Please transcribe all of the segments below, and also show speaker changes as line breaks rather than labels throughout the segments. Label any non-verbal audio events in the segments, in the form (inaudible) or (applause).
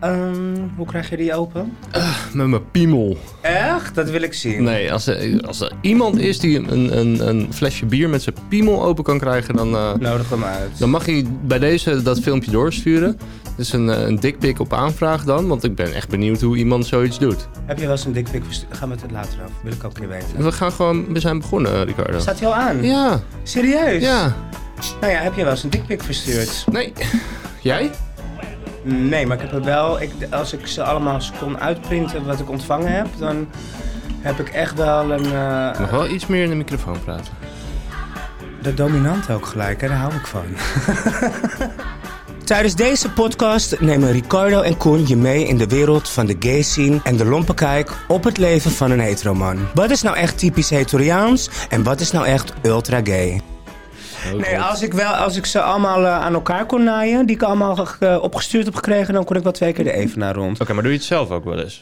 Ehm, hoe krijg je die open?
Met mijn piemel.
Echt? Dat wil ik zien.
Nee, als er, als er iemand is die een, een, een flesje bier met zijn piemel open kan krijgen, dan, eh,
Nodig hem uit.
dan mag hij bij deze dat filmpje doorsturen. Dus een, eh, een dikpik op aanvraag dan, want ik ben echt benieuwd hoe iemand zoiets doet.
Heb je wel eens een dikpik verstuurd? Gaan we het later over. Wil ik ook niet weten.
We gaan gewoon, we zijn begonnen, eh, Ricardo.
Staat hij al aan?
Ja,
Serieus?
ja.
Nou ja, heb je wel eens een dikpik verstuurd?
Nee. Jij?
Nee, maar ik heb er wel... Ik, als ik ze allemaal eens kon uitprinten wat ik ontvangen heb, dan heb ik echt wel een... eh,
Nog wel iets meer in de microfoon praten.
De dominant ook gelijk, hè? daar hou ik van. (laughs) Tijdens deze podcast nemen Ricardo en Koen je mee in de wereld van de gay scene en de lompe kijk op het leven van een heteroman. Wat is nou echt typisch hetoriaans en wat is nou echt ultra gay? Nee, als ik, wel, als ik ze allemaal eh, aan elkaar kon naaien, die ik allemaal eh, opgestuurd heb gekregen, dan kon ik wel twee keer de evenaar rond.
Oké, maar doe je het zelf ook wel eens?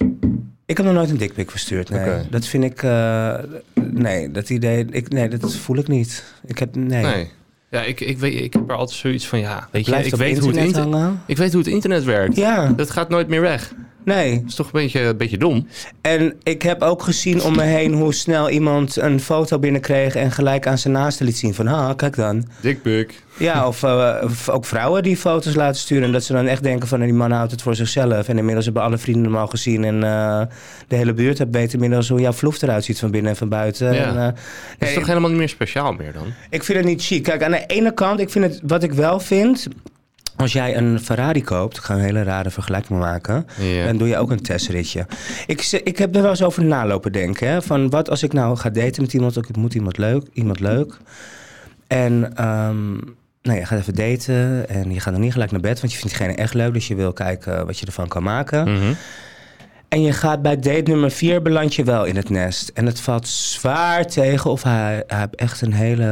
Ik heb nog nooit een dikpik verstuurd, nee.
Oké.
Dat vind ik, eh, nee, dat idee, ik, nee, dat voel ik niet. Ik heb, nee.
Nee. Ja, ik, ik, weet, ik heb er altijd zoiets van, ja, weet je,
Blijft
ik
op
weet, hoe het
internet
inter-
hangen.
ik weet hoe het internet werkt.
Ja,
Dat gaat nooit meer weg. Dat
nee.
is toch een beetje, een beetje dom.
En ik heb ook gezien om me heen hoe snel iemand een foto binnenkreeg en gelijk aan zijn naasten liet zien van, ha, kijk dan.
Dikbuk. (laughs)
Ja, of, eh, of ook vrouwen die foto's laten sturen en dat ze dan echt denken van, "Nou, die man houdt het voor zichzelf. En inmiddels hebben alle vrienden hem al gezien en eh, de hele buurt heeft- weet inmiddels hoe jouw vloef eruit ziet van binnen en van buiten.
Ja.
En, eh,
Dat
nee,
is toch helemaal niet meer speciaal meer dan?
ik vind het niet chic. Kijk, aan de ene kant, ik vind het, wat ik wel vind, als jij een Ferrari koopt, ik ga een hele rare vergelijking maken.
Ja.
Dan doe je ook een testritje. Ik, ze- ik heb er wel eens over nalopen denken. Hè? Van wat als ik nou ga daten met iemand, ook ik moet iemand leuk, iemand leuk. En ehm, nou, je gaat even daten en je gaat nog niet gelijk naar bed, want je vindt diegene echt leuk. Dus je wil kijken wat je ervan kan maken.
Mhm.
En je gaat bij date nummer 4 beland je wel in het nest. En het valt zwaar tegen of hij, hij heeft echt een hele,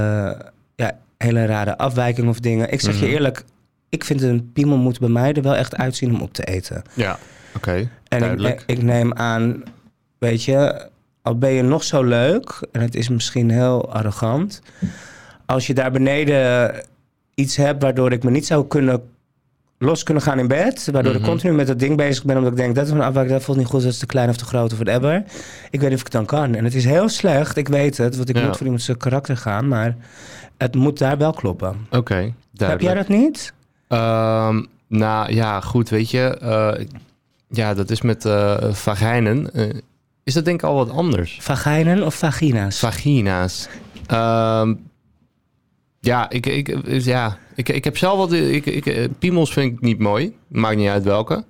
ja, hele rare afwijking of dingen. Ik zeg je eerlijk, ik vind een piemel moet bij mij er wel echt uitzien om op te eten.
Ja, oké.
En ik,
Duidelijk.
ne- ik neem aan, weet je, al ben je nog zo leuk, en het is misschien heel arrogant, als je daar beneden iets hebt waardoor ik me niet zou kunnen los kunnen gaan in bed, waardoor
Mhm.
ik continu met dat ding bezig ben, omdat ik denk dat is een afwijking, dat voelt niet goed, dat is te klein of te groot of whatever. Ik weet niet of ik het dan kan. En het is heel slecht, ik weet het, want ik
Ja.
moet voor iemand zijn karakter gaan, maar het moet daar wel kloppen.
Oké,
Heb jij
duidelijk.
dat niet?
Ehm, nou ja, goed, weet je. eh, ja, dat is met eh vagijnen. eh, is dat denk ik al wat anders?
Vagijnen of vagina's?
Vagina's. Ehm, ja, ik, ik, dus ja ik, ik heb zelf wat... Ik, ik, eh, piemels vind ik niet mooi. Maakt niet uit welke.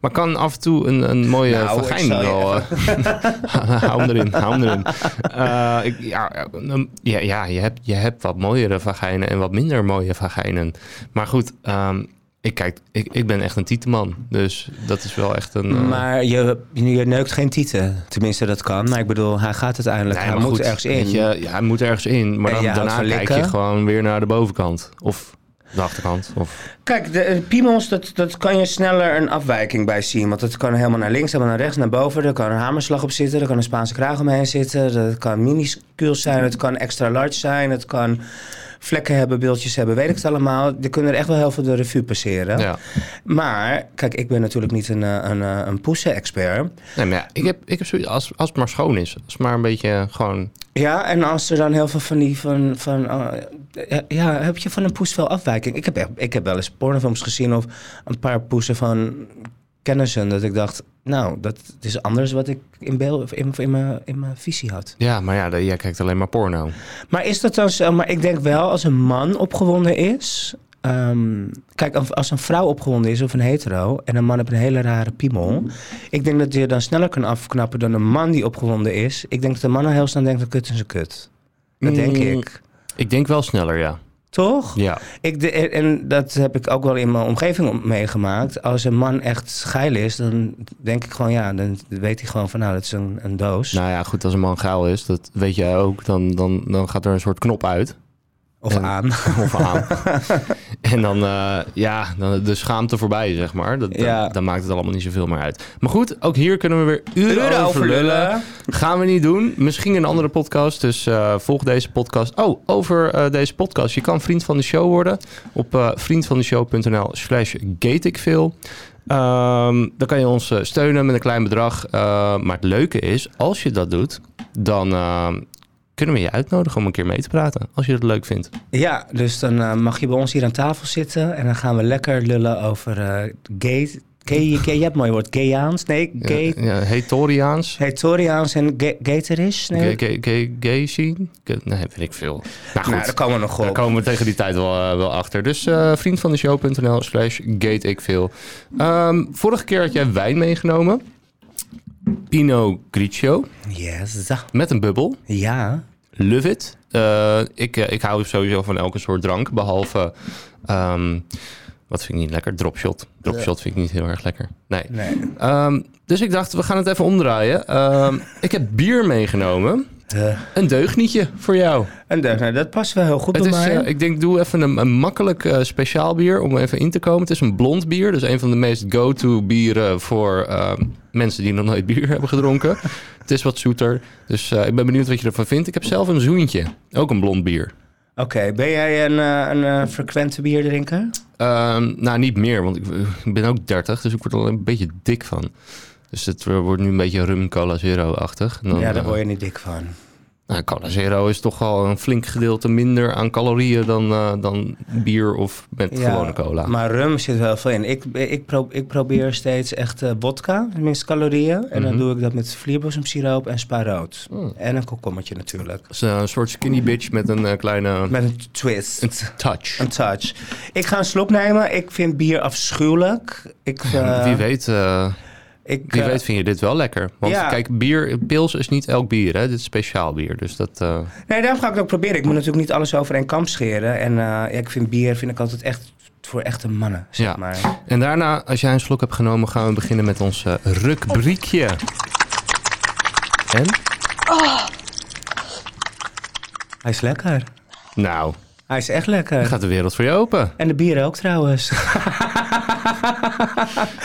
Maar kan af en toe een, een mooie
Nou, ik
vagijn
zou je
wel... eh, (laughs) hou hem erin, hou hem erin. Eh, ik, ja, een- ja, ja je, hebt, je hebt wat mooiere vagijnen en wat minder mooie vagijnen. Maar goed, ehm, ik, kijk, ik, ik ben echt een tietenman. Dus dat is wel echt een... eh,
Maar je, je neukt geen tieten. Tenminste, dat kan. Maar ik bedoel, hij gaat uiteindelijk.
Nee,
hij
maar
moet
goed,
ergens in.
weet Je, ja, hij moet ergens in, maar
En
dan,
je houdt
daarna
van
kijk je
likken.
gewoon weer naar de bovenkant. Of de achterkant. Of...
Kijk, de eh, piemels, dat, dat kan je sneller een afwijking bij zien. Want dat kan helemaal naar links, helemaal naar rechts, naar boven. Er kan een hamerslag op zitten, er kan een Spaanse kraag omheen zitten. Dat kan minuscuul zijn, het kan extra large zijn. Het kan vlekken hebben, beeldjes hebben, weet ik het allemaal. Er kunnen er echt wel heel veel de revue passeren.
Ja.
Maar, kijk, ik ben natuurlijk niet een, eh, een, eh, een poesen-expert.
Nee, maar ja, ik heb, ik heb zoiets, als, als het maar schoon is. Als het maar een beetje eh, gewoon...
Ja, en als er dan heel veel van die van. van eh, ja, ja, heb je van een poes wel afwijking? Ik heb, echt- ik heb wel eens pornofilms gezien of een paar poesen van kennissen. Dat ik dacht, nou, dat is anders wat ik in, beeld, of in, in, mijn, in mijn visie had.
Ja, maar ja, de- jij kijkt alleen maar porno.
Maar is dat dan zo? Maar ik denk wel, als een man opgewonden is. ehm, kijk, als- als een vrouw opgewonden is of een hetero en een man op een hele rare piemel. Ik denk dat je dan sneller kan afknappen dan een man die opgewonden is. Ik denk dat een man al heel snel denkt, een kut is een kut. Dat denk
Mm,
ik.
Ik denk wel sneller, ja.
Toch?
Ja,
Ik de, en- en dat heb ik ook wel in mijn omgeving om- meegemaakt. Als een man echt geil is, dan denk ik gewoon ja, dan weet hij gewoon van nou, dat is een, een doos.
nou ja, goed, als een man gaal is, dat weet jij ook, dan, dan, dan gaat er een soort knop uit. (laughs)
of
en-
aan. (laughs)
Of aan. en dan, eh, ja, dan de schaamte voorbij, zeg maar. Dat, dan-
Ja.
Dan, maakt het allemaal niet zoveel meer uit. Maar goed, ook hier kunnen we weer uren, over lullen. Gaan we niet doen. Misschien een andere podcast. Dus eh, volg deze podcast. Oh, over eh, deze podcast. Je kan vriend van de show worden op eh vriendvandeshow.nl slash gateikveel. Ehm, dan kan je ons eh, steunen met een klein bedrag. Eh, maar het leuke is, als je dat doet, dan ehm, kunnen we je uitnodigen om een keer mee te praten. Als je het leuk vindt.
Ja, dus dan eh, mag je bij ons hier aan tafel zitten en dan gaan we lekker lullen over eh gay, gay, gay. Je hebt mooi woord, gayaans. Nee, gay,
Ja, ja, Hetoriaans.
hetoriaans en ga- gaterish. Nee,
Gay- gay- gay- Gay zien? Ge- Nee, weet ik veel. Nou goed,
nou, daar komen we nog
daar
op.
komen we tegen die tijd wel, eh, wel achter. Dus eh vriendvandeshow.nl slash gate ik veel. Ehm, vorige keer had jij wijn meegenomen. Pinot Grigio.
Yes.
Met een bubbel.
Ja.
Love it. Eh, ik, eh, ik hou sowieso van elke soort drank, behalve... ehm, wat vind ik niet lekker? Dropshot. Dropshot vind ik niet heel erg lekker. Nee.
Nee.
Ehm, dus ik dacht, we gaan het even omdraaien. Ehm, ik heb bier meegenomen.
Eh,
Een deugnietje voor jou.
en daar- nou, dat past wel heel goed
Het
bij
is,
mij.
eh, ik denk, doe even een, een makkelijk eh, speciaal bier om even in te komen. Het is een blond bier, dus een van de meest go-to bieren voor eh, mensen die nog nooit bier (laughs) hebben gedronken. het is wat zoeter, dus eh, ik ben benieuwd wat je ervan vindt. Ik heb zelf een zoentje, ook een blond bier.
Oké, ben jij een, eh, een eh, frequente bierdrinker?
Ehm, nou, niet meer, want ik, ik ben ook 30, dus ik word er al een beetje dik van. Dus het wordt nu een beetje rum cola zero-achtig. En dan,
Ja, daar
eh,
word je niet dik van.
Nou, Cola Zero is toch al een flink gedeelte minder aan calorieën dan, eh, dan bier of met
Ja,
gewone cola.
Maar rum zit wel veel in. Ik, ik, pro- ik probeer steeds echt eh, vodka, minst calorieën. En dan
Mhm.
doe ik dat met vlierbosomsiroop en spa rood.
Mm.
En een komkommetje natuurlijk.
Het is eh, een soort skinny bitch met een eh, kleine
Met een twist.
touch.
Een touch. Ik ga een slok nemen. Ik vind bier afschuwelijk. Ik, eh,
wie weet, eh,
Ik,
wie
eh,
weet vind je dit wel lekker. Want
ja.
kijk, bier, pils is niet elk bier, hè? Dit is speciaal bier. Dus dat, eh,
Nee, daarom ga ik het ook proberen. Ik moet natuurlijk niet alles over één kam scheren. En eh, ja, ik vind bier vind ik altijd echt voor echte mannen, zeg
Ja.
maar.
En daarna, als jij een slok hebt genomen, gaan we beginnen met ons eh, rubriekje. En?
Hij is lekker.
Nou,
Hij is echt lekker.
gaat de wereld voor je open.
En de bieren ook trouwens.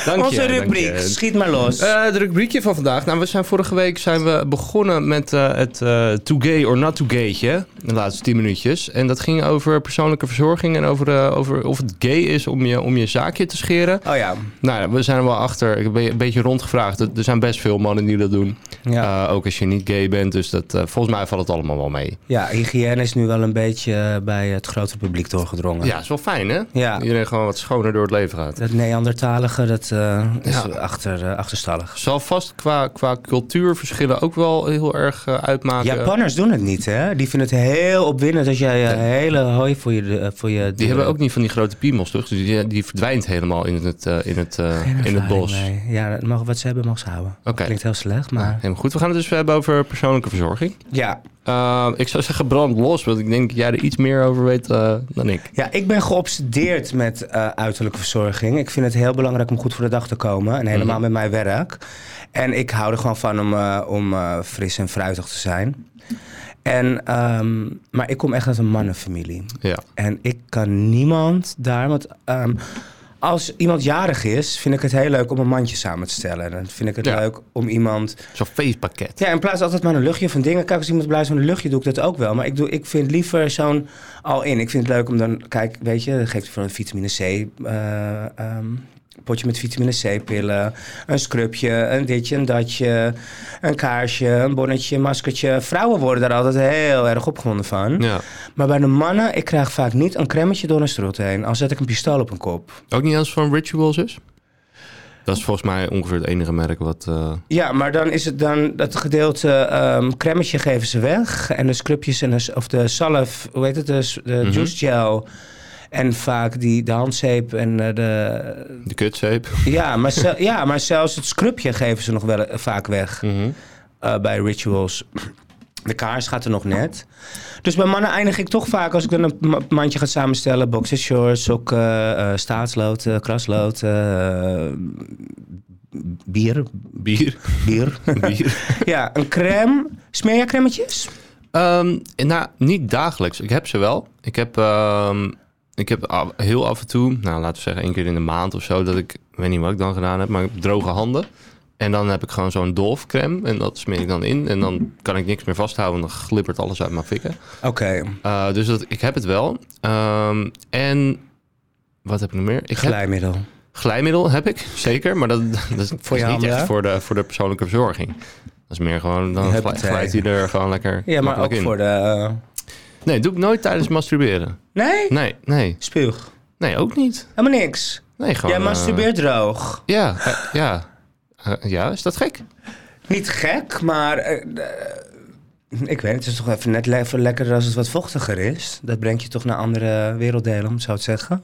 Dank
Onze
je, dank
rubriek.
je.
Schiet maar los.
Eh, het rubriekje van vandaag. Nou, we zijn vorige week zijn we begonnen met eh, het eh to gay or not to gaytje. De laatste 10 minuutjes. En dat ging over persoonlijke verzorging en over, eh, over of het gay is om je, om je zaakje te scheren.
oh ja.
Nou, ja, we zijn er wel achter. Ik heb een beetje rondgevraagd. Er er zijn best veel mannen die dat doen.
Ja.
Eh, ook als je niet gay bent. Dus dat, eh, volgens mij valt het allemaal wel mee.
ja, hygiëne is nu wel een beetje eh, bij het grote publiek doorgedrongen.
Ja, is wel fijn hè?
Ja.
Iedereen gewoon wat schoner door het leven gaat.
Dat Neandertalige, dat eh, is
Ja.
achter, eh, achterstallig.
Zal vast qua, qua cultuurverschillen ook wel heel erg eh, uitmaken.
Japanners doen het niet, hè? Die vinden het heel opwindend als jij een hele hooi voor je... de- eh, voor je
Die hebben ook niet van die grote piemels, toch? Dus die, die verdwijnt helemaal in het, eh, in het, eh, in het bos.
Nee. Ja, dat mag, wat ze hebben mag ze houden.
Oké.
Klinkt heel slecht,
Nou,
maar...
helemaal goed. We gaan het dus hebben over persoonlijke verzorging.
Ja.
Eh, ik zou zeggen brand los, want ik denk dat jij er iets meer over weet eh, dan ik.
ja, ik ben geobsedeerd met eh, uiterlijke verzorging. Ik vind het heel belangrijk om goed voor de dag te komen. En helemaal met mijn werk. En ik hou er gewoon van om, eh, om eh, fris en fruitig te zijn. En, ehm, maar ik kom echt uit een mannenfamilie.
Ja.
En ik kan niemand daar. Want ehm, als iemand jarig is, vind ik het heel leuk om een mandje samen te stellen. En dan vind ik het
Ja.
leuk om iemand.
Zo'n feestpakket.
Ja, in plaats altijd maar een luchtje van dingen. Kijk, als iemand blij is met een luchtje, doe ik dat ook wel. Maar ik, doe, ik vind liever zo'n al-in. Ik vind het leuk om dan, kijk, weet je, dan geeft hij voor een vitamine C. eh, ehm, potje met vitamine C-pillen, een scrubje, een ditje, een datje, een kaarsje, een bonnetje, een maskertje. Vrouwen worden daar altijd heel erg opgewonden van.
Hm? Ja.
Maar bij de mannen, ik krijg vaak niet een kremmetje door een strot heen. Al zet ik een pistool op een kop.
Ook niet eens van Rituals is? Dat is volgens mij ongeveer het enige merk wat... eh,
Ja, maar dan is het dan dat gedeelte ehm kremmetje geven ze weg. En de scrubjes en de, s- of de salf, hoe heet het, de, s- de
Mhm.
juice gel. En vaak die, de handzeep en eh, de...
de kutzeep. (laughs)
Ja maar, ze- ja, maar zelfs het scrubje geven ze nog wel eh, vaak weg
Mhm.
eh, bij rituals. De kaars gaat er nog net. Dus bij mannen eindig ik toch vaak als ik dan een ma- mandje ga samenstellen. Boxershorts, sokken, eh, staatsloten, krasloten, eh, bier,
Bier.
bier.
Bier.
Ja, een crème. Smeer jij crèmetjes?
Ehm, nou, niet dagelijks. Ik heb ze wel. Ik heb, ehm, ik heb af- heel af en toe, nou, laten we zeggen één keer in de maand of zo, dat ik, ik weet niet wat ik dan gedaan heb, maar ik heb droge handen. En dan heb ik gewoon zo'n dolfcreme en dat smeer ik dan in. En dan kan ik niks meer vasthouden, dan glibbert alles uit mijn fikken.
Oké.
Eh, dus dat, ik heb het wel. Ehm, en, wat heb ik nog meer? Ik heb
Glijmiddel.
Glijmiddel heb ik, zeker. Maar dat, (laughs) dat is,
Voor je
is niet
handen,
echt
hè?
voor de, voor de persoonlijke verzorging. Dat is meer gewoon, dan glij-
Huppatee.
glijdt hij er gewoon lekker
Ja, maar
makkelijk
ook
in.
voor de... eh,
Nee, doe ik nooit tijdens masturberen.
Nee?
Nee, nee.
Spuug.
Nee, ook niet.
Helemaal niks.
Nee, gewoon...
Jij
eh,
masturbeert droog.
ja, eh, ja. Eh, ja, is dat gek?
Niet gek, maar... eh, eh, ik weet het, het is toch even net le- even lekkerder als het wat vochtiger is. Dat brengt je toch naar andere werelddelen, om zo te zeggen.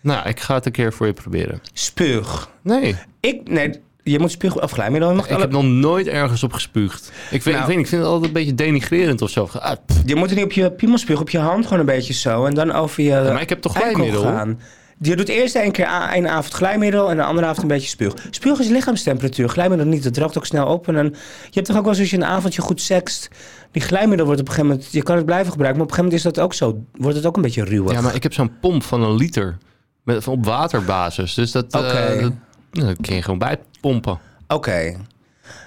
Nou, ik ga het een keer voor je proberen.
Spuug.
Nee,
Ik, nee, je moet spuug of glijmiddel. Je, mag
ik
alle-
heb nog nooit ergens op gespuugd. Ik, vind,
Nou.
ik, vind, ik vind het altijd een beetje denigrerend of zo. Ah, pff.
je moet er niet op je piemel spugen, op je hand gewoon een beetje zo. En dan over je
maar ik heb toch glijmiddel?
Eh, gaan. Je doet eerst één keer a- één avond glijmiddel en de andere avond een beetje spuug. Spuug is lichaamstemperatuur, glijmiddel niet. Dat droogt ook snel op. En dan, je hebt toch ook wel eens als je een avondje goed sekst... die glijmiddel wordt op een gegeven moment... je kan het blijven gebruiken, maar op een gegeven moment is dat ook zo. Wordt het ook een beetje ruw.
ja, maar ik heb zo'n pomp van een liter. Met, van op waterbasis. Dus dat, eh,
Oké.
dat, nou, dat kun je gewoon bijpompen.
Oké.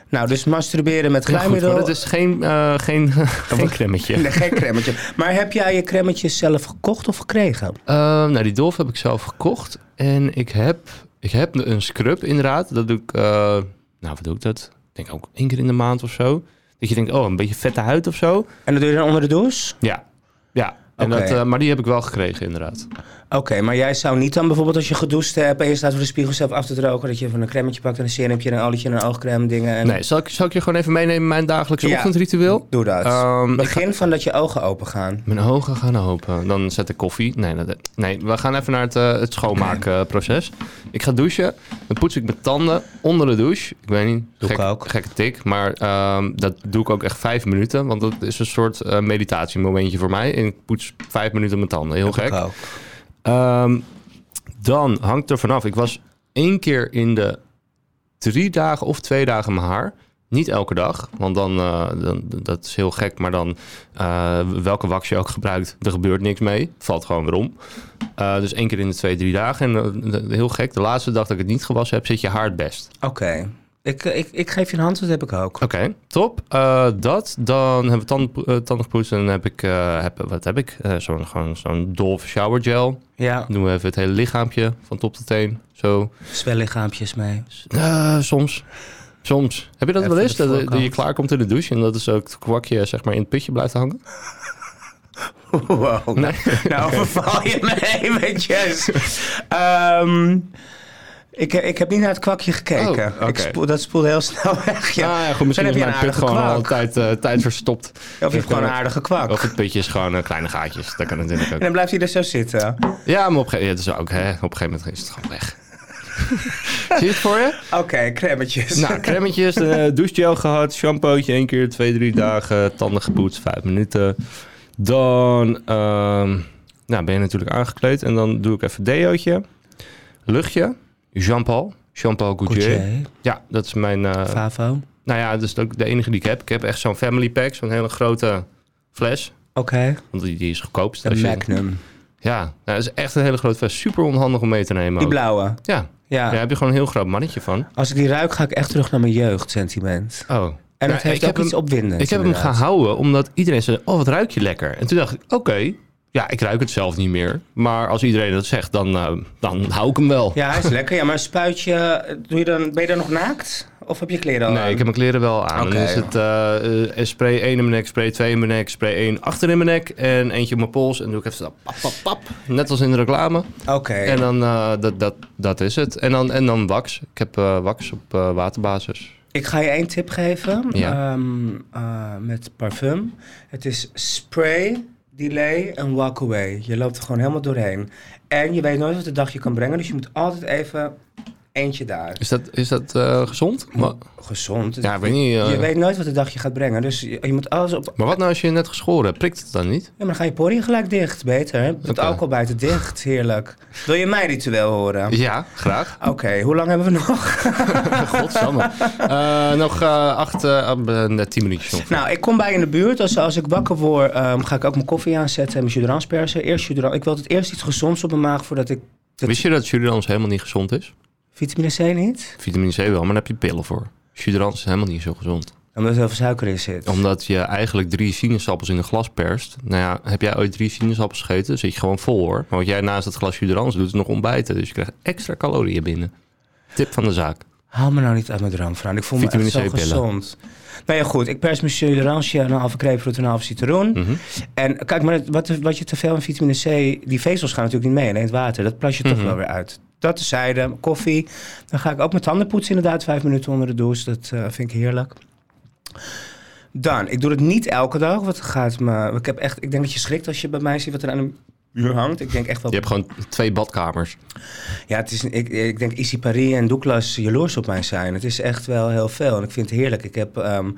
Nou, dus masturberen met
Ja, goed,
glijmiddel...
maar dat is geen, eh, geen, (laughs) geen
(laughs)
kremmetje.
Nee, geen cremmetje. Maar heb jij je cremmetjes zelf gekocht of gekregen?
Eh, nou, die Dolf heb ik zelf gekocht. En ik heb, ik heb een scrub inderdaad. Dat doe ik, eh, nou wat doe ik dat? Ik denk ook één keer in de maand of zo. Dat je denkt, oh, een beetje vette huid of zo.
En dat doe je dan onder de douche?
Ja, ja. En
Oké.
dat, eh, maar die heb ik wel gekregen inderdaad.
Oké, maar jij zou niet dan bijvoorbeeld als je gedoucht hebt... en je staat voor de spiegel zelf af te drogen... dat je van een cremmetje pakt en een serumje en een olietje en een oogcreme dingen... En...
Nee, zal ik, zal ik je gewoon even meenemen in mijn dagelijkse
Ja.
ochtendritueel?
Doe dat.
Ehm, ik ga-
Begin van dat je ogen open gaan.
mijn ogen gaan open. Dan zet ik koffie. Nee, dat- nee we gaan even naar het, eh, het schoonmaakproces. ik ga douchen. Dan poets ik mijn tanden onder de douche. Ik weet niet.
Doe ik
gek-
ook.
Gekke tik. Maar ehm, dat doe ik ook echt vijf minuten. Want dat is een soort eh, meditatiemomentje voor mij. En ik poets vijf minuten mijn tanden. Heel gek.
Ook.
Ehm, dan hangt er vanaf. Ik was één keer in de drie dagen of twee dagen mijn haar. Niet elke dag, want dan, eh, dan dat is heel gek. Maar dan, eh, welke wax je ook gebruikt, er gebeurt niks mee. Valt gewoon weer om. Eh, dus één keer in de twee, drie dagen. En eh, de- de- heel gek, de laatste dag dat ik het niet gewassen heb, zit je haar het best.
Oké. Ik, eh, ik, ik geef je een hand, dat heb ik ook.
Oké, top. Eh, dat, dan hebben we tanden, eh, tanden gepoetst en dan heb ik, eh, heb, wat heb ik? Eh, zo'n, gewoon zo'n Dolph shower gel.
Ja,
Doen we even het hele lichaampje van top tot teen. Zo.
zwellichaampjes
(laughs)
mee.
Eh, soms. Soms. Heb je dat
Even
wel eens?
de
Dat, dat
voorkant.
je klaar komt in de douche en dat is ook het kwakje zeg maar, in het putje blijft hangen?
Wow.
Nee.
(laughs) Nou,
(laughs)
verval je me eventjes. Ehm, ik, ik heb niet naar het kwakje gekeken.
Oh, oké.
Ik spoel- dat spoelde heel snel weg. Ja.
Ah, ja, goed, misschien
Dan heb
is
je
mijn
een
put
aardige
gewoon al een
kwak.
tijd, eh, tijd verstopt.
Of je hebt gewoon een aardige kwak.
eh, Of het putje is gewoon eh, kleine gaatjes. Dat kan natuurlijk
En
ook.
dan blijft hij er zo zitten.
Ja, maar op, een gege- ja, dat is ook, hè, op een gegeven moment is het gewoon weg.
(laughs)
Zie je het voor je?
Oké, cremmetjes.
Nou, cremmetjes, eh douchegel gehad, shampootje één keer, twee, drie dagen, tanden gepoetst, vijf minuten. Dan ehm, nou, ben je natuurlijk aangekleed en dan doe ik even deootje, luchtje, Jean-Paul, Jean-Paul Gaultier.
Goutier,
Ja, dat is mijn, eh,
Favo. Oké.
nou ja, dat is ook de enige die ik heb. Ik heb echt zo'n family pack, zo'n hele grote fles, want die, die is goedkoopst.
De
als je-
Magnum.
Ja, nou, dat is echt een hele grote fles, super onhandig om mee te nemen.
Die Ah.
ook.
blauwe.
Ja,
Ja.
daar heb je gewoon een heel groot mannetje van.
Als ik die ruik, ga ik echt terug naar mijn jeugdsentiment.
Oh.
En
Nou,
het heeft
ik heb
ook iets
hem-
opwindends.
Ik heb hem
inderdaad.
gehouden omdat iedereen zei: Oh, wat ruik je lekker? En toen dacht ik: Oké, ja, ik ruik het zelf niet meer. Maar als iedereen dat zegt, dan, eh, dan hou ik hem wel.
Ja, hij is lekker. Ja, maar een spuitje, doe je dan, ben je dan nog naakt? Of heb je kleren al
Nee,
aan?
ik heb mijn kleren wel aan.
Oké.
Dan is het eh, eh, spray 1 in mijn nek, spray 2 in mijn nek, spray 1 achter in mijn nek en eentje op mijn pols. En doe ik even zo pap, pap, pap. Net als in de reclame.
Oké.
En dan, eh, dat, dat, dat is het. En dan, en dan wax. Ik heb eh, wax op eh, waterbasis.
Ik ga je één tip geven
Ja.
ehm, eh, met parfum. Het is spray, delay en walk away. Je loopt er gewoon helemaal doorheen. En je weet nooit wat de dag je kan brengen, dus je moet altijd even eentje daar.
Is dat, is dat eh, gezond? Maar,
Gezond.
ja, ik weet niet. eh,
Je weet nooit wat de dag je gaat brengen, dus je, je moet alles op...
Maar wat nou als je net geschoren hebt? Prikt het dan niet?
Ja, maar dan ga je poriën gelijk dicht, beter. hè? Met
Oké.
alcohol buiten dicht, heerlijk. Wil je mijn ritueel horen?
Ja, graag.
Oké, hoe lang hebben we nog? (laughs)
(laughs) Godsamme. Eh, nog eh, acht, eh, eh, nee, tien minuutjes nog.
Nou, ik kom bij in de buurt. Dus als ik wakker word, ehm, ga ik ook mijn koffie aanzetten en mijn judrans persen. Eerst judrans. Ik wil het eerst iets gezonds op mijn maag voordat ik
Wist je dat Surinams helemaal niet gezond is?
vitamine C niet.
Vitamine C wel, maar daar heb je pillen voor. Surinams is helemaal niet zo gezond.
Oké, Omdat er heel veel suiker in zit.
Omdat je eigenlijk drie sinaasappels in een glas perst. Nou ja, heb jij ooit drie sinaasappels gegeten? Zit je gewoon vol hoor. Maar wat jij naast het glas juderans doet, is nog ontbijten. Dus je krijgt extra calorieën binnen. Tip van de zaak.
Haal me nou niet uit mijn droom, Fran. Ik voel me echt
Vitamine
zo
C-pillen.
gezond. Nou ja, goed. Ik pers mijn chili en een halve grapefruit en een halve citroen.
Mhm.
En kijk, maar het- wat, wat je te veel aan vitamine C... Die vezels gaan natuurlijk niet mee. En het water, dat plas je toch
Mhm.
wel weer uit. Dat tezijde, koffie. Dan ga ik ook mijn tanden poetsen inderdaad. Vijf minuten onder de douche. Dat eh, vind ik heerlijk. Dan, ik doe het niet elke dag. Wat gaat me... Ik, heb echt, ik denk dat je schrikt als je bij mij ziet wat er aan een muur hangt. Ik denk echt wel...
Je hebt gewoon twee badkamers.
Ja, het is, ik, ik denk Issy Paris en Douglas jaloers op mij zijn. Het is echt wel heel veel en ik vind het heerlijk. Ik heb... ehm,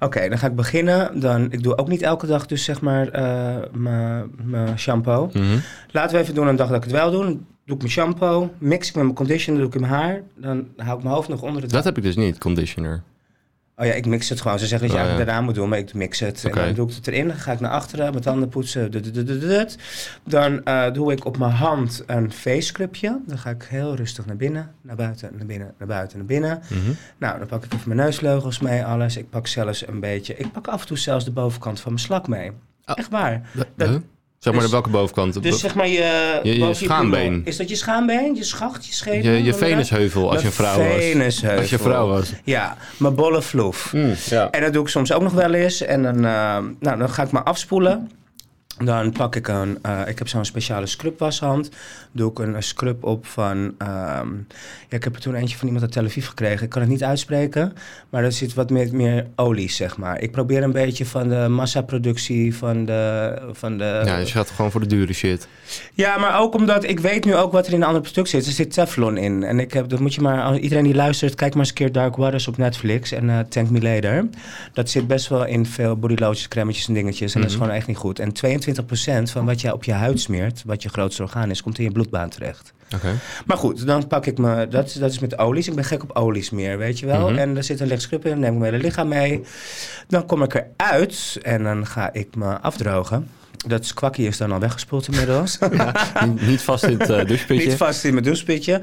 Oké, dan ga ik beginnen. Dan, ik doe ook niet elke dag dus zeg maar eh, mijn mijn shampoo.
Mhm.
Laten we even doen een dag dat ik het wel doe. Dan doe ik mijn shampoo, mix ik met mijn conditioner, doe ik in mijn haar. Dan hou ik mijn hoofd nog onder het
Dat heb ik dus niet, conditioner.
Oh ja, ik mix het gewoon. Ze zeggen dat je
Oh ja.
eigenlijk daarna moet doen, maar ik mix het.
Oké.
En dan doe ik het erin, dan ga ik naar achteren, mijn tanden poetsen. dut, dut, dut, dut, dut. Dan eh, doe ik op mijn hand een facecrubje. Dan ga ik heel rustig naar binnen, naar buiten, naar binnen, naar buiten, naar binnen.
Mhm.
Nou, dan pak ik even mijn neusleugels mee, alles. Ik pak zelfs een beetje... Ik pak af en toe zelfs de bovenkant van mijn slak mee.
Oh.
Echt waar.
Huh? Zeg maar
dus-
de welke bovenkant?
Dus zeg maar je...
Je- je
boven
schaambeen.
piemel. Is dat je schaambeen? Je schacht? Je
je,
scheet?
je venusheuvel als je een vrouw was.
Venusheuvel.
Als je een vrouw was.
Ja, mijn bolle vloef.
Mm, ja.
En dat doe ik soms ook nog wel eens. En dan, eh, nou, dan ga ik me afspoelen. Dan pak ik een, eh, ik heb zo'n speciale scrubwashand. Doe ik een, eh, scrub op van, ehm, ja, ik heb er toen eentje van iemand uit Tel Aviv gekregen. Ik kan het niet uitspreken, maar er zit wat meer, meer olie, zeg maar. Ik probeer een beetje van de massaproductie van de, van de...
ja, dus je gaat gewoon voor de dure shit.
Ja, maar ook omdat ik weet nu ook wat er in een ander product zit. Er zit Teflon in. En ik heb, dat moet je maar, als iedereen die luistert, kijk maar eens een keer Dark Waters op Netflix en eh, Thank Me Later. Dat zit best wel in veel bodylotions, crèmetjes en dingetjes. En dat is
Mhm.
gewoon echt niet goed. En 22% van wat jij op je huid smeert, wat je grootste orgaan is, komt in je bloedbaan terecht.
Oké.
Maar goed, dan pak ik me. Dat, is- dat is met olies. Ik ben gek op olies meer, weet je wel.
Mhm.
En er zit een licht scrub in, dan neem ik mijn hele lichaam mee. Dan kom ik eruit en dan ga ik me afdrogen. Dat kwakkie is dan al weggespoeld
(laughs)
inmiddels.
Niet- Niet vast in het (laughs) eh,
Niet
doucheputje.
vast in mijn douchepitje.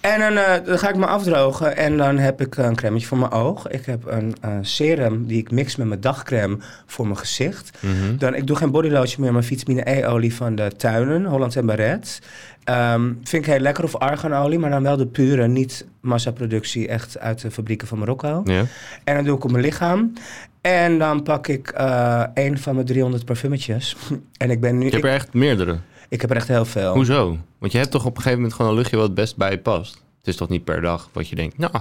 En dan, eh, dan ga ik me afdrogen en dan heb ik een crème voor mijn oog. Ik heb een eh, serum die ik mix met mijn dagcrème voor mijn gezicht.
Mhm.
Dan, ik doe geen bodylotion meer, maar vitamine E-olie van de tuinen, Holland en Barret. Ehm, vind ik heel lekker, of arganolie, maar dan wel de pure, niet massaproductie, echt uit de fabrieken van Marokko.
Ja.
En dan doe ik op mijn lichaam. En dan pak ik eh een van mijn 300 parfummetjes. (laughs) en ik ben nu...
Je hebt
Ik,
er echt meerdere.
ik heb er echt heel veel.
Hoezo? Want je hebt toch op een gegeven moment gewoon een luchtje wat het best bij je past. Het is toch niet per dag wat je denkt, nou,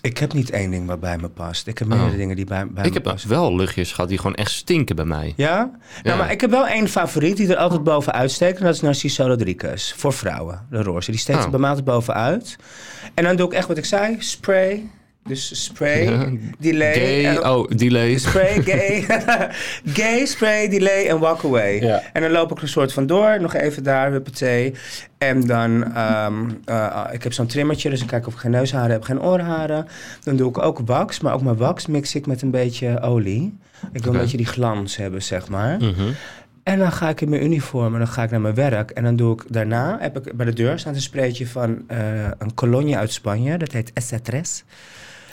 Ik heb niet één ding wat bij me past. Ik heb meerdere
Oh.
dingen die bij, bij
ik
me
heb
passen.
wel luchtjes gehad die gewoon echt stinken bij mij.
Ja?
Ja.
Nou, maar ik heb wel één favoriet die er altijd bovenuit steekt. En dat is Narciso Rodriguez. Voor vrouwen, de roze. Die steekt
Oh.
er bij mij altijd bovenuit. En dan doe ik echt wat ik zei. Spray. Dus spray,
Ja.
delay.
Gay,
en-
oh, delay. (laughs)
Spray, gay. (laughs) gay, spray, delay en walk away.
Ja.
En dan loop ik er een soort van door. Nog even daar, huppatee. En dan, ehm, eh, ik heb zo'n trimmertje, dus ik kijk of ik geen neusharen heb, geen oorharen. Dan doe ik ook wax, maar ook mijn wax mix ik met een beetje olie. Ik wil
Oké.
een beetje die glans hebben, zeg maar.
Mhm.
En dan ga ik in mijn uniform en dan ga ik naar mijn werk. En dan doe ik daarna, heb ik bij de deur staat een spreetje van eh, een cologne uit Spanje. Dat heet Essatres.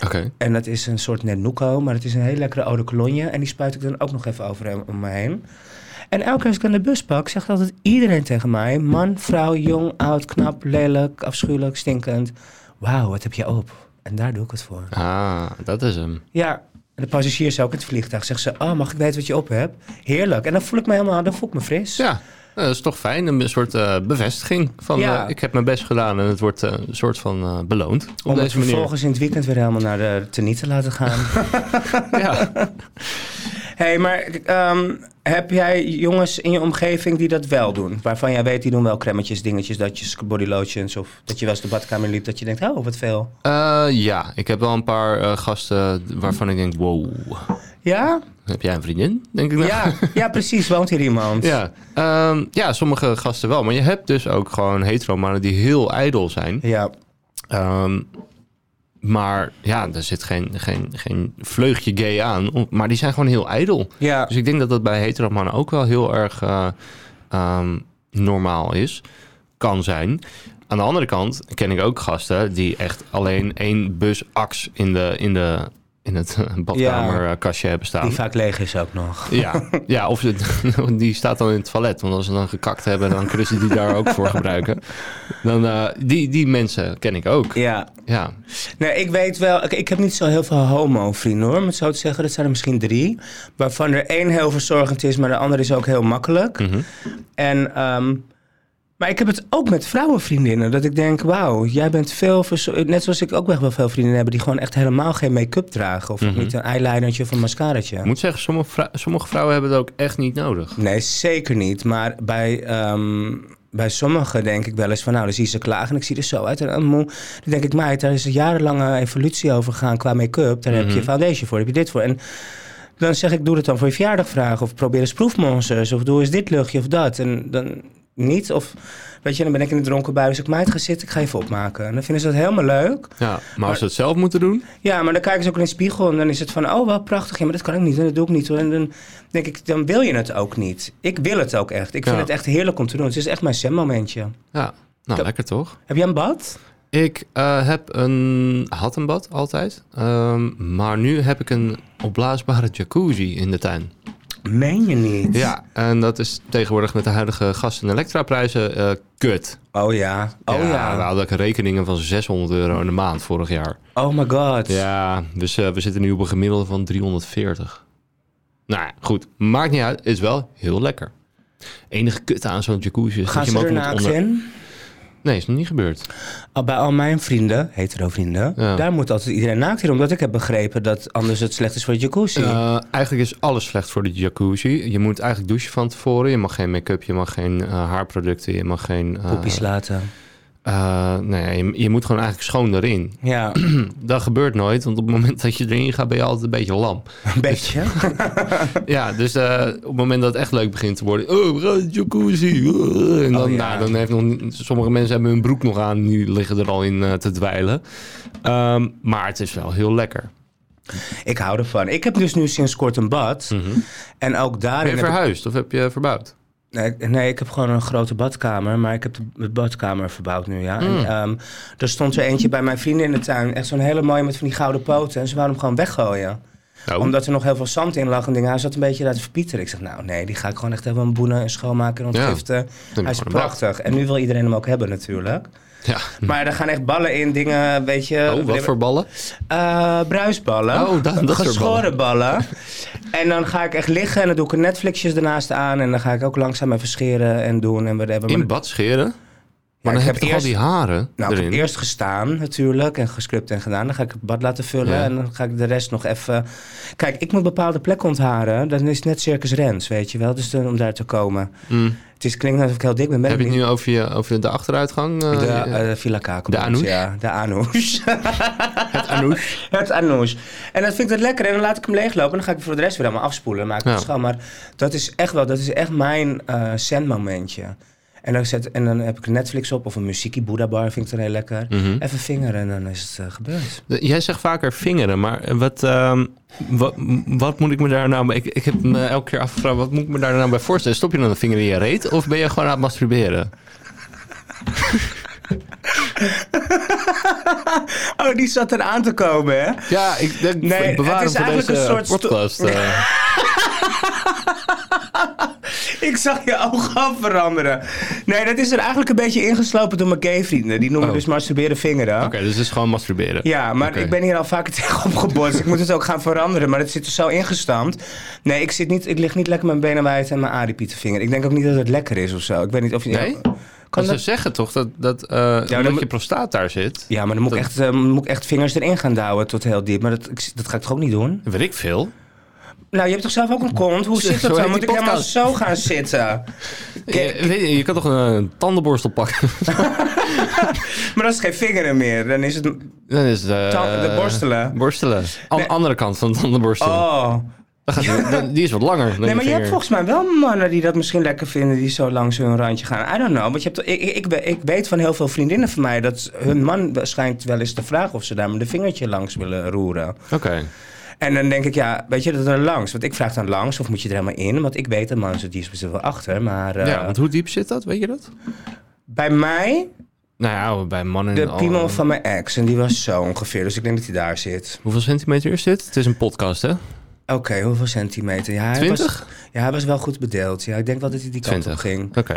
Oké.
En dat is een soort Nenuco, maar het is een hele lekkere oude cologne. En die spuit ik dan ook nog even over om me heen. En elke keer als ik aan de bus pak, zegt altijd iedereen tegen mij... man, vrouw, jong, oud, knap, lelijk, afschuwelijk, stinkend. Wauw, wat heb je op? En daar doe ik het voor.
Ah, dat is hem.
Ja, en de passagiers ook in het vliegtuig zeggen ze... oh, mag ik weten wat je op hebt? Heerlijk. En dan voel ik me helemaal, dan voel ik me fris.
Ja, eh, dat is toch fijn. Een soort eh, bevestiging van
Ja.
eh, ik heb mijn best gedaan en het wordt eh, een soort van eh, beloond op
Om het
deze manier.
vervolgens in het weekend weer helemaal naar de teniet te laten gaan.
(laughs) Ja.
Hé, hey, maar ehm, heb jij jongens in je omgeving die dat wel doen? Waarvan jij weet, die doen wel kremmetjes, dingetjes, datjes, body lotions... of dat je wel eens de badkamer liep, dat je denkt, oh, wat veel.
Eh, ja, ik heb wel een paar eh, gasten waarvan ik denk, wow,
Ja?
heb jij een vriendin? Denk ik nou.
Ja, ja precies, woont hier iemand.
(laughs) Ja, ehm, ja, sommige gasten wel. Maar je hebt dus ook gewoon heteromannen die heel ijdel zijn.
Ja,
Ehm, maar ja, er zit geen, geen, geen vleugje gay aan. om- Maar die zijn gewoon heel ijdel.
ja.
Dus ik denk dat dat bij heteromannen ook wel heel erg eh, ehm, normaal is. Kan zijn. Aan de andere kant ken ik ook gasten die echt alleen één bus aks in de, in de in het (laughs) eh, badkamerkastje hebben staan.
Die vaak leeg is ook nog.
Ja, ja of ze- (laughs) die staat dan in het toilet. Want als ze dan gekakt hebben, dan kunnen ze die daar ook voor gebruiken. Dan, eh, die, die mensen ken ik ook.
Ja,
Ja,
nee, ik weet wel. Ik, ik heb niet zo heel veel homo-vrienden hoor. Om het zo te zeggen, dat zijn er misschien drie. Waarvan er één heel verzorgend is, maar de andere is ook heel makkelijk.
Mhm.
En, ehm, maar ik heb het ook met vrouwenvriendinnen. Dat ik denk, wauw, jij bent veel verzorgd. Net zoals ik ook echt wel veel vriendinnen heb die gewoon echt helemaal geen make-up dragen. Of
Mhm.
niet een eyelinertje of een mascaratje.
ik moet zeggen, sommige, vrou- sommige vrouwen hebben het ook echt niet nodig.
Nee, zeker niet. Maar bij, ehm, bij sommigen denk ik wel eens van... nou, dan zie je ze klagen en ik zie er zo uit. En, eh, moe. dan denk ik, meid, daar is een jarenlange evolutie over gegaan qua make-up. Daar heb
Mhm.
je foundation voor, daar heb je dit voor. En dan zeg ik, doe dat dan voor je verjaardag vragen. Of probeer eens proefmonsters. Of doe eens dit luchtje of dat. En dan niet. Of weet je, dan ben ik in een dronken bui. Dus ik, meid, ga zitten, ik ga even opmaken. En dan vinden ze dat helemaal leuk.
Ja, maar, als ze het zelf moeten doen,
Ja, maar dan kijken ze ook in de spiegel en dan is het van, oh, wat prachtig. Ja, maar dat kan ik niet en dat doe ik niet. Hoor. En dan denk ik, dan wil je het ook niet. Ik wil het ook echt. Ik vind
Ja.
het echt heerlijk om te doen. Het is echt mijn zen-momentje.
ja, nou
Ja.
lekker toch?
Heb jij een bad?
Ik eh, heb een, had een bad altijd, Ehm, maar nu heb ik een opblaasbare jacuzzi in de
(laughs)
tuin.
Meen je niet?
Ja, en dat is tegenwoordig met de huidige gas- en elektraprijzen eh, kut.
Oh ja. Oh ja.
We hadden ook rekeningen van 600 euro in de maand vorig jaar.
Oh my god.
Ja, dus eh, we zitten nu op een gemiddelde van 340. Nou ja, goed, maakt niet uit, is wel heel lekker. Enige kut aan zo'n jacuzzi is
Gaan
dat je
ze
hem
er
ook moet
naakt
onder...
in?
Nee, is nog niet gebeurd.
Al bij al mijn vrienden, hetero vrienden,
Ja.
daar moet altijd iedereen naakt in. Omdat ik heb begrepen dat anders het slecht is voor de jacuzzi.
Eh, eigenlijk is alles slecht voor de jacuzzi. Je moet eigenlijk douchen van tevoren. Je mag geen make-up, je mag geen eh, haarproducten, je mag geen... eh,
Poepies laten.
eh, nee, je, je moet gewoon eigenlijk schoon erin.
Ja,
Dat gebeurt nooit, want op het moment dat je erin gaat ben je altijd een beetje
(laughs)
lam. (laughs)
een beetje.
Ja, dus eh, op het moment dat het echt leuk begint te worden... Oh, we gaan in de jacuzzi. oh, en dan,
Oh, ja.
nou, dan heeft nog, niet- sommige mensen hebben hun broek nog aan. Nu liggen er al in eh, te dweilen. Ehm, maar het is wel heel lekker.
Ik hou ervan. Ik heb dus nu sinds kort een bad. En ook
Mhm. Ben je
daarin heb ik
verhuisd of heb je verbouwd?
Nee, ik- nee, ik heb gewoon een grote badkamer, maar ik heb de de badkamer verbouwd nu, ja.
Mm.
En, ehm, er stond er eentje bij mijn vrienden in de tuin, echt zo'n hele mooie met van die gouden poten. En ze wouden hem gewoon weggooien.
Nou,
Omdat er nog heel veel zand in lag en dingen. Hij zat een beetje daar te verpieteren. Ik zeg, nou nee, die ga ik gewoon echt even boenen en schoonmaken en
Ja.
ontgiften.
je
Hij is
gewoon een bad.
prachtig. En nu wil iedereen hem ook hebben natuurlijk.
ja.
Maar er gaan echt ballen in, dingen, weet je.
Oh, wat voor ballen?
Eh, bruisballen.
Oh, dat- dat soort
Geschoren ballen. En dan ga ik echt liggen en dan doe ik een Netflixjes ernaast aan. En dan ga ik ook langzaam even scheren en doen en whatever. Maar
In bad scheren? Maar
ik
dan
heb
heb je toch
eerst-
al die haren
Nou, ik heb
erin?
eerst gestaan natuurlijk en gescript en gedaan. Dan ga ik het bad laten vullen
Ja.
en dan ga ik de rest nog even... Kijk, ik moet bepaalde plekken ontharen. Dat is net Circus Rens, weet je wel. Dus dan, om daar te komen.
Mm.
Het is, klinkt alsof ik heel dik ben. ben
Heb je
ik
het
niet.
nu over, je, over de achteruitgang? eh,
De
je-
eh, Villa Kakel.
De Anoush?
Ja, de Anoush.
(laughs) het anoush?
(laughs) Het anoush. En dat vind ik dat lekker. En dan laat ik hem leeglopen. En dan ga ik voor de rest weer allemaal afspoelen. Maak ik
Ja.
het schoon. Maar dat is echt wel, dat is echt mijn eh zen-momentje. En dan, zet, en dan heb ik Netflix op of een muziekie. Buddha Bar vind ik dan heel lekker.
Mhm.
Even vingeren en dan is het eh, gebeurd.
De- Jij zegt vaker vingeren, maar wat, ehm, wat, wat moet ik me daar nou... Ik, ik heb me elke keer afgevraagd, wat moet ik me daar nou bij voorstellen? Stop je dan een vinger in je reet of ben je gewoon aan het masturberen?
Oh, die zat er aan te komen, hè?
Ja, ik denk,
Nee,
ik bewaar
het
hem
is
voor
eigenlijk
deze
een soort sto-
podcast. (laughs) eh.
Ik zag je ogen af veranderen. Nee, dat is er eigenlijk een beetje ingeslopen door mijn gay vrienden. Die noemen
Oh.
dus masturberen vingeren.
Oké, dus het is gewoon masturberen.
Ja, maar
Oké.
ik ben hier al vaker (laughs) tegen opgebotst. ik moet het ook gaan veranderen, maar het zit er zo ingestampt. Nee, ik, zit niet, ik lig niet lekker mijn benen wijd en mijn Adipi te vinger. Ik denk ook niet dat het lekker is of zo. Ik weet niet of je...
Nee?
Kan
Kan ze
dat...
zeggen toch dat, dat eh omdat
moet-
je prostaat daar zit?
Ja, maar dan moet, ik echt, eh, moet ik echt vingers erin gaan douwen tot heel diep. Maar dat, ik, dat ga ik toch ook niet doen?
Weet ik veel.
Nou, je hebt toch zelf ook een kont? Hoe
(laughs) Zo-
zit dat
zo
dan?
heet
Moet ik
die
helemaal
podcast.
zo gaan zitten?
Je, weet je, je kan toch een, eh, tandenborstel pakken?
Maar dat is geen vingeren meer. Dan is het...
Dan is het, eh,
Tan- de borstelen.
Borstelen. Aan de andere kant van de tandenborstel.
Oh.
Dan gaat die- dan- die is wat langer. dan
Nee, maar je hebt
vinger.
volgens mij wel mannen die dat misschien lekker vinden, die zo langs hun randje gaan. I don't know. Want je hebt, ik, ik- ik, we- ik weet van heel veel vriendinnen van mij dat hun man schijnt wel eens te vragen of ze daar met een vingertje langs willen roeren.
Oké.
En dan denk ik, ja, weet je dat er langs? Want ik vraag dan langs of moet je er helemaal in? Want ik weet dat man zit die is best wel achter. Maar eh,
ja, want hoe diep zit dat? Weet je dat?
bij mij
Nou ja, bij mannen...
De
al- eh,
piemel van mijn ex. En die was zo ongeveer. Dus ik denk dat hij daar zit.
Hoeveel centimeter is dit? Het is een podcast, hè?
Oké, hoeveel centimeter? Ja, hij Was,
20?
ja, hij was wel goed bedeeld. Ja, ik denk wel dat hij die kant op
20.
ging.
Oké.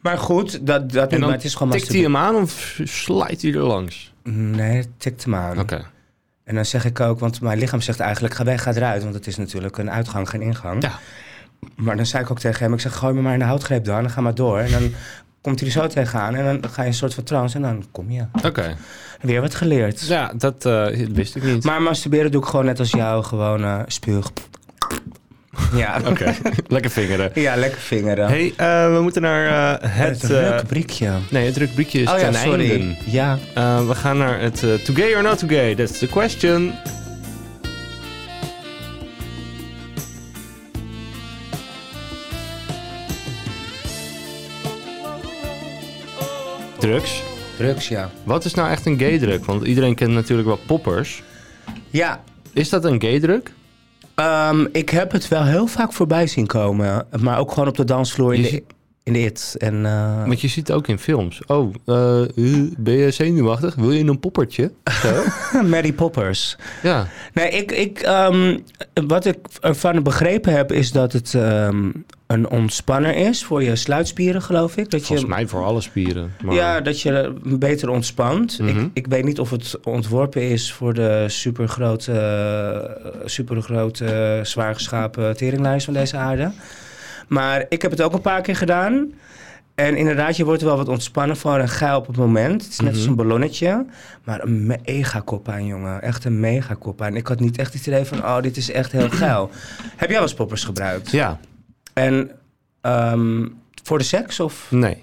Maar goed, dat, dat
En
niet, maar
dan
het is gewoon
tikt hij hem aan of slijt hij er langs?
masturbe- Nee, het tikt hem aan.
Oké.
En dan zeg ik ook, want mijn lichaam zegt eigenlijk... ga weg, ga eruit. Want het is natuurlijk een uitgang, geen ingang.
Ja.
Maar dan zei ik ook tegen hem... ik zeg, gooi me maar in de houtgreep dan en ga maar door. En dan komt hij er zo tegenaan. En dan ga je een soort van trance en dan kom je.
Oké.
Weer wat geleerd.
Ja, dat eh, wist ik niet.
Maar masturberen doe ik gewoon net als jou. Gewoon eh spuug. Ja.
(laughs) (laughs) Oké. Lekker vingeren.
ja, lekker vingeren.
hey, eh, we moeten naar eh,
het
het...
is een
eh,
leuk rubriekje.
nee, het rubriekje is
Oh ja,
ten
sorry.
einde.
Ja.
Eh, we gaan naar het eh, to gay or not to gay. That's the question. Drugs.
Drugs, ja.
Wat is nou echt een gay drug? Want iedereen kent natuurlijk wel poppers.
Ja.
Is dat een gay drug?
ehm, ik heb het wel heel vaak voorbij zien komen. Maar ook gewoon op de dansvloer in,
Je
de,
ziet-
in de it. En, eh,
Want je ziet het ook in films. Oh, eh, eh, ben je zenuwachtig? Wil je een poppertje? Zo.
(laughs) Mary Poppers.
ja.
Nee, ik, ik, ehm, wat ik ervan begrepen heb is dat het ehm, een ontspanner is voor je sluitspieren, geloof ik. Dat je
Volgens mij voor alle spieren. Maar...
Ja, dat je beter ontspant.
Mhm.
ik, ik weet niet of het ontworpen is voor de supergrote, eh, supergrote zwaar geschapen teringlijst van deze aarde. Maar ik heb het ook een paar keer gedaan. En inderdaad, je wordt er wel wat ontspannen van en geil op het moment. Het is net als
Mhm.
een ballonnetje. Maar een mega kop aan, jongen. Echt een mega kop aan. Ik had niet echt het idee van, oh, dit is echt
(clears throat)
heel geil. heb jij wel eens poppers gebruikt?
ja.
En ehm, voor de seks of...
Nee.
Op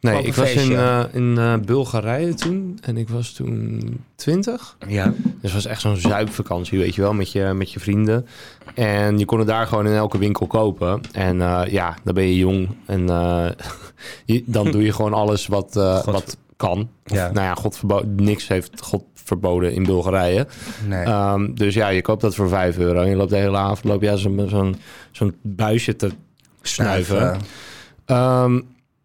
Nee,
een
ik was in,
feestje.
eh, in eh, Bulgarije toen en ik was toen 20.
Ja.
Dus het was echt zo'n zuipvakantie, weet je wel, met je, met je vrienden. En je kon het daar gewoon in elke winkel kopen. En eh, ja, dan ben je jong en eh, (laughs) je- dan doe je gewoon alles wat, eh,
God-
wat kan. Of,
Ja.
Nou ja, God verbo- niks heeft God verboden in Bulgarije.
Nee.
Ehm, dus ja, je koopt dat voor 5 euro en je loopt de hele avond loop je aan zo'n zo'n zo'n buisje te snuiven. Ehm,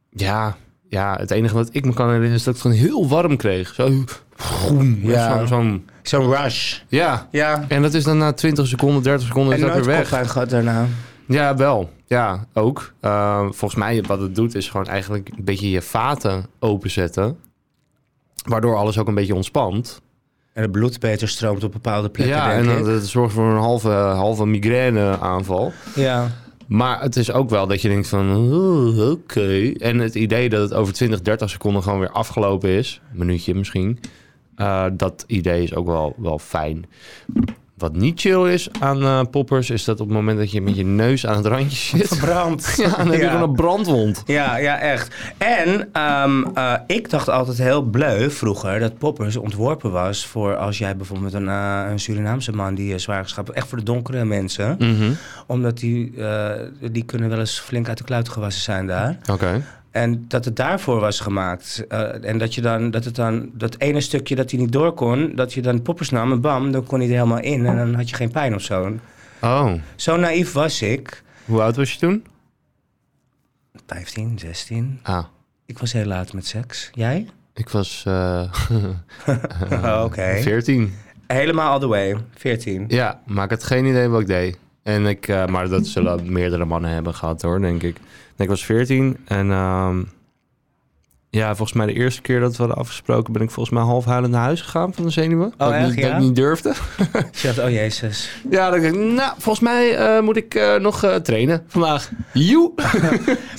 ja, ja, het enige wat ik me kan herinneren is dat ik het gewoon heel warm kreeg. Zo, groen,
Ja.
ja. Zo, zo'n-
Zo'n rush.
ja,
Ja.
en dat is dan na 20 seconden, 30 seconden
En
is dat
nooit
weer weg.
koppijn gehad daarna.
Ja, wel. Ja, ook. Ehm, volgens mij wat het doet is gewoon eigenlijk een beetje je vaten openzetten. Waardoor alles ook een beetje ontspant.
En het bloed beter stroomt op bepaalde plekken,
ja, en
denk
dat,
ik.
dat zorgt voor een halve, halve migraine aanval.
Ja.
Maar het is ook wel dat je denkt van, "Oeh, oké. En het idee dat het over 20, 30 seconden gewoon weer afgelopen is, een minuutje misschien, eh, dat idee is ook wel, wel fijn. Wat niet chill is aan eh, poppers, is dat op het moment dat je met je neus aan het randje (laughs) zit,
Verbrand.
ja, dan heb je gewoon een brandwond.
Ja, ja, echt. En ehm, eh, ik dacht altijd heel bleu vroeger dat poppers ontworpen was voor als jij bijvoorbeeld een, eh, een Surinaamse man die eh, zwaar geschapen, echt voor de donkere mensen,
Mhm.
omdat die, eh, die kunnen wel eens flink uit de kluit gewassen zijn daar.
Oké.
En dat het daarvoor was gemaakt. Eh, en dat je dan, dat het dan, dat ene stukje dat hij niet door kon, dat je dan poppers nam en bam, dan kon hij er helemaal in en dan had je geen pijn of zo.
Oh,
Zo naïef was ik.
hoe oud was je toen?
15, 16.
Ah,
Ik was heel laat met seks. Jij?
ik was eh, (laughs)
Oké.
14.
Helemaal all the way. 14.
Ja, maar ik had geen idee wat ik deed. En ik, eh, maar dat zullen meerdere mannen hebben gehad hoor, denk ik. En ik was 14 en ehm, ja, volgens mij de eerste keer dat we hadden afgesproken... ben ik volgens mij half huilend naar huis gegaan van de zenuwen. dat, ik
echt,
niet, dat
ja?
ik niet durfde. (laughs)
Je dacht, oh jezus.
Ja, dat ik dacht, nou, volgens mij eh, moet ik eh, nog eh, trainen vandaag. (laughs) Joe!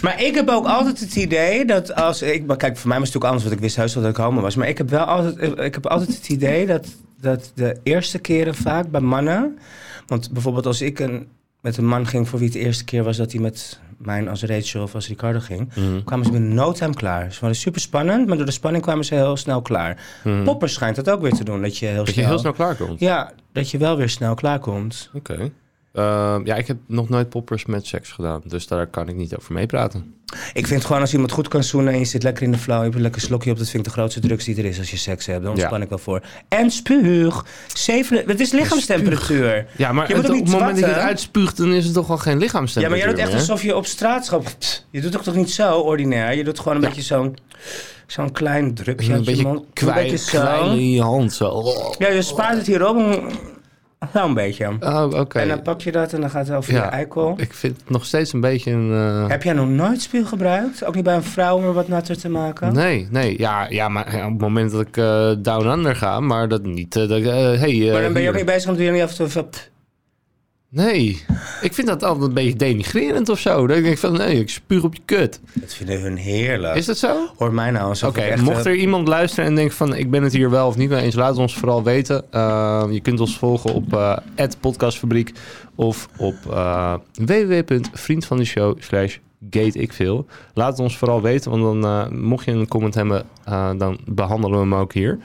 Maar ik heb ook altijd het idee dat als ik. Maar kijk, voor mij was het natuurlijk anders, want ik wist heus wel dat ik homo was. Maar ik heb wel altijd, ik heb altijd het idee dat, dat de eerste keren vaak bij mannen. Want bijvoorbeeld als ik een, met een man ging voor wie het de eerste keer was dat hij met mijn als Rachel of als Ricardo ging.
Mhm,
kwamen ze binnen no time klaar. Ze waren super spannend, maar door de spanning kwamen ze heel snel klaar.
Mhm.
Popper schijnt Hmm. dat ook weer te doen, dat je heel,
Dat je
snel,
heel snel klaar komt.
Ja, dat je wel weer snel klaar komt.
Oké. Ehm, ja, ik heb nog nooit poppers met seks gedaan. Dus daar kan ik niet over meepraten.
Ik vind gewoon als iemand goed kan zoenen en je zit lekker in de flow, je hebt een lekker slokje op, dat vind ik de grootste drugs die er is als je seks hebt. Daar
Ja.
ontspan ik wel voor. En spuug. Zeven, het is lichaamstemperatuur.
Ja, maar
Je moet
het-
ook
op
niet
het moment dat je het
zwatten.
uitspuugt, dan is het toch al geen
Ja, maar
lichaamstemperatuur
jij doet echt
meer?
alsof je op straat schopt. Je doet ook toch niet zo ordinair? Je doet gewoon een
Ja.
beetje zo'n zo'n klein drupje
Een
uit je
beetje
mond. een
kwijn,
beetje zo.
kwijn in je hand. Zo. Oh,
Ja, je spaart het hierop. een- Nou, een beetje.
Oh, oké.
En dan pak je dat en dan gaat het over je
Ja.
eikel.
Ik vind het nog steeds een beetje een... eh,
Heb jij nog nooit spuug gebruikt? Ook niet bij een vrouw om er wat natter te maken?
Nee, nee. Ja, ja, maar ja, op het moment dat ik eh, down under ga, maar dat niet... eh, dat, ik, eh, hey, eh,
maar dan ben je ook
hier.
niet bezig om te doen niet af en toe van... pff.
Nee, ik vind dat altijd een beetje denigrerend of zo. Dat ik denk van, nee, ik spuug op je kut.
Dat vinden hun heerlijk.
Is dat zo?
Hoor mij nou alsof
Oké,
ik echt...
mocht
eh,
er iemand luisteren en denken van ik ben het hier wel of niet mee eens, laat het ons vooral weten. Eh, je kunt ons volgen op eh podcastfabriek of op eh www.vriendvandeshow slash gateikveel. Laat het ons vooral weten, want dan eh, mocht je een comment hebben, eh, dan behandelen we hem ook hier.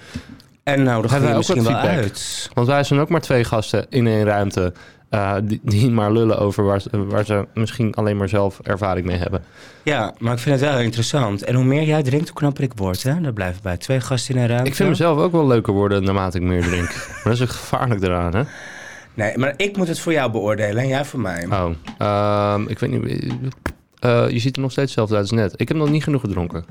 En nou, dan gaan we
Hebben wij ook
misschien wel
wat feedback?
uit.
Want wij zijn ook maar twee gasten in één ruimte eh, die, die maar lullen over waar, ze- waar ze misschien alleen maar zelf ervaring mee hebben.
Ja, maar ik vind het wel interessant. En hoe meer jij drinkt, hoe knapper ik word. Hè? Daar blijven bij twee gasten in een ruimte.
Ik vind mezelf ook wel leuker worden naarmate ik meer drink. (laughs) maar dat is ook gevaarlijk eraan, hè?
Nee, maar ik moet het voor jou beoordelen en jij voor mij.
Oh, ehm, ik weet niet. eh, je ziet er nog steeds hetzelfde uit als net. Ik heb nog niet genoeg gedronken.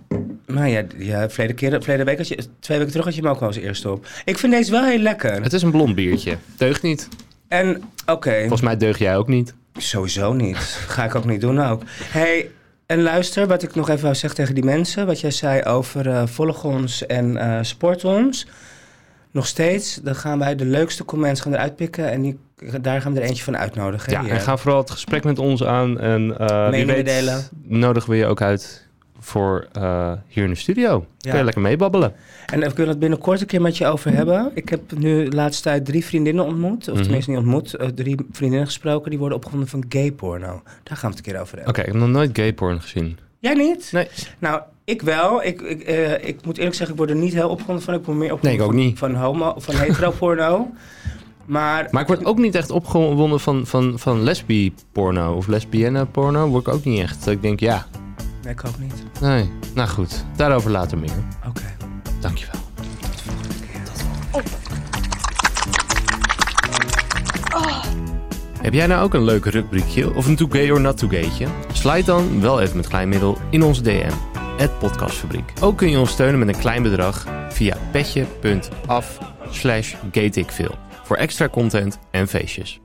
Nou ja, ja verleden, keer, verleden week, had je, twee weken terug had je hem ook wel als eerste op. Ik vind deze wel heel lekker.
Het is een blond biertje. Deugt niet.
En oké,
Volgens mij deug jij ook niet.
sowieso niet. (laughs) Ga ik ook niet doen ook. hey, en luister, wat ik nog even wou zeggen tegen die mensen. Wat jij zei over eh volg ons en eh sport ons. Nog steeds, dan gaan wij de leukste comments gaan eruit pikken. En die, daar gaan we er eentje van uitnodigen.
Ja,
hè?
en ga vooral het gesprek met ons aan. En eh wie
Meningen
weet
delen.
nodigen we je ook uit voor eh, hier in de studio.
Ja.
Kun je lekker meebabbelen.
En ik wil het binnenkort een keer met je over hebben. Ik heb nu de laatste tijd drie vriendinnen ontmoet. Of
Mhm.
tenminste niet ontmoet. eh, drie vriendinnen gesproken. Die worden opgevonden van gay porno. Daar gaan we het een keer over
Oké,
hebben.
ik heb nog nooit gay porn gezien.
Jij niet?
Nee.
Nou, ik wel. Ik, ik, eh, ik moet eerlijk zeggen, ik word er niet heel opgewonden van. Ik word meer
Nee,
opgewonden
ik ook niet.
van, van homo, van
(laughs)
hetero porno. Maar,
Maar ik word ook niet echt opgewonden van, van, van lesbi porno of lesbienne porno. Word ik ook niet echt. Dat Ik denk, ja,
Nee, ik ook niet.
nee. Nou goed, daarover later meer.
Oké.
Dankjewel. Heb jij nou ook een leuk rubriekje of een too gay or not too gaytje? Slijt dan wel even met klein middel in onze DM, het podcastfabriek. Ook kun je ons steunen met een klein bedrag via petje.af slash gateikveel voor extra content en feestjes.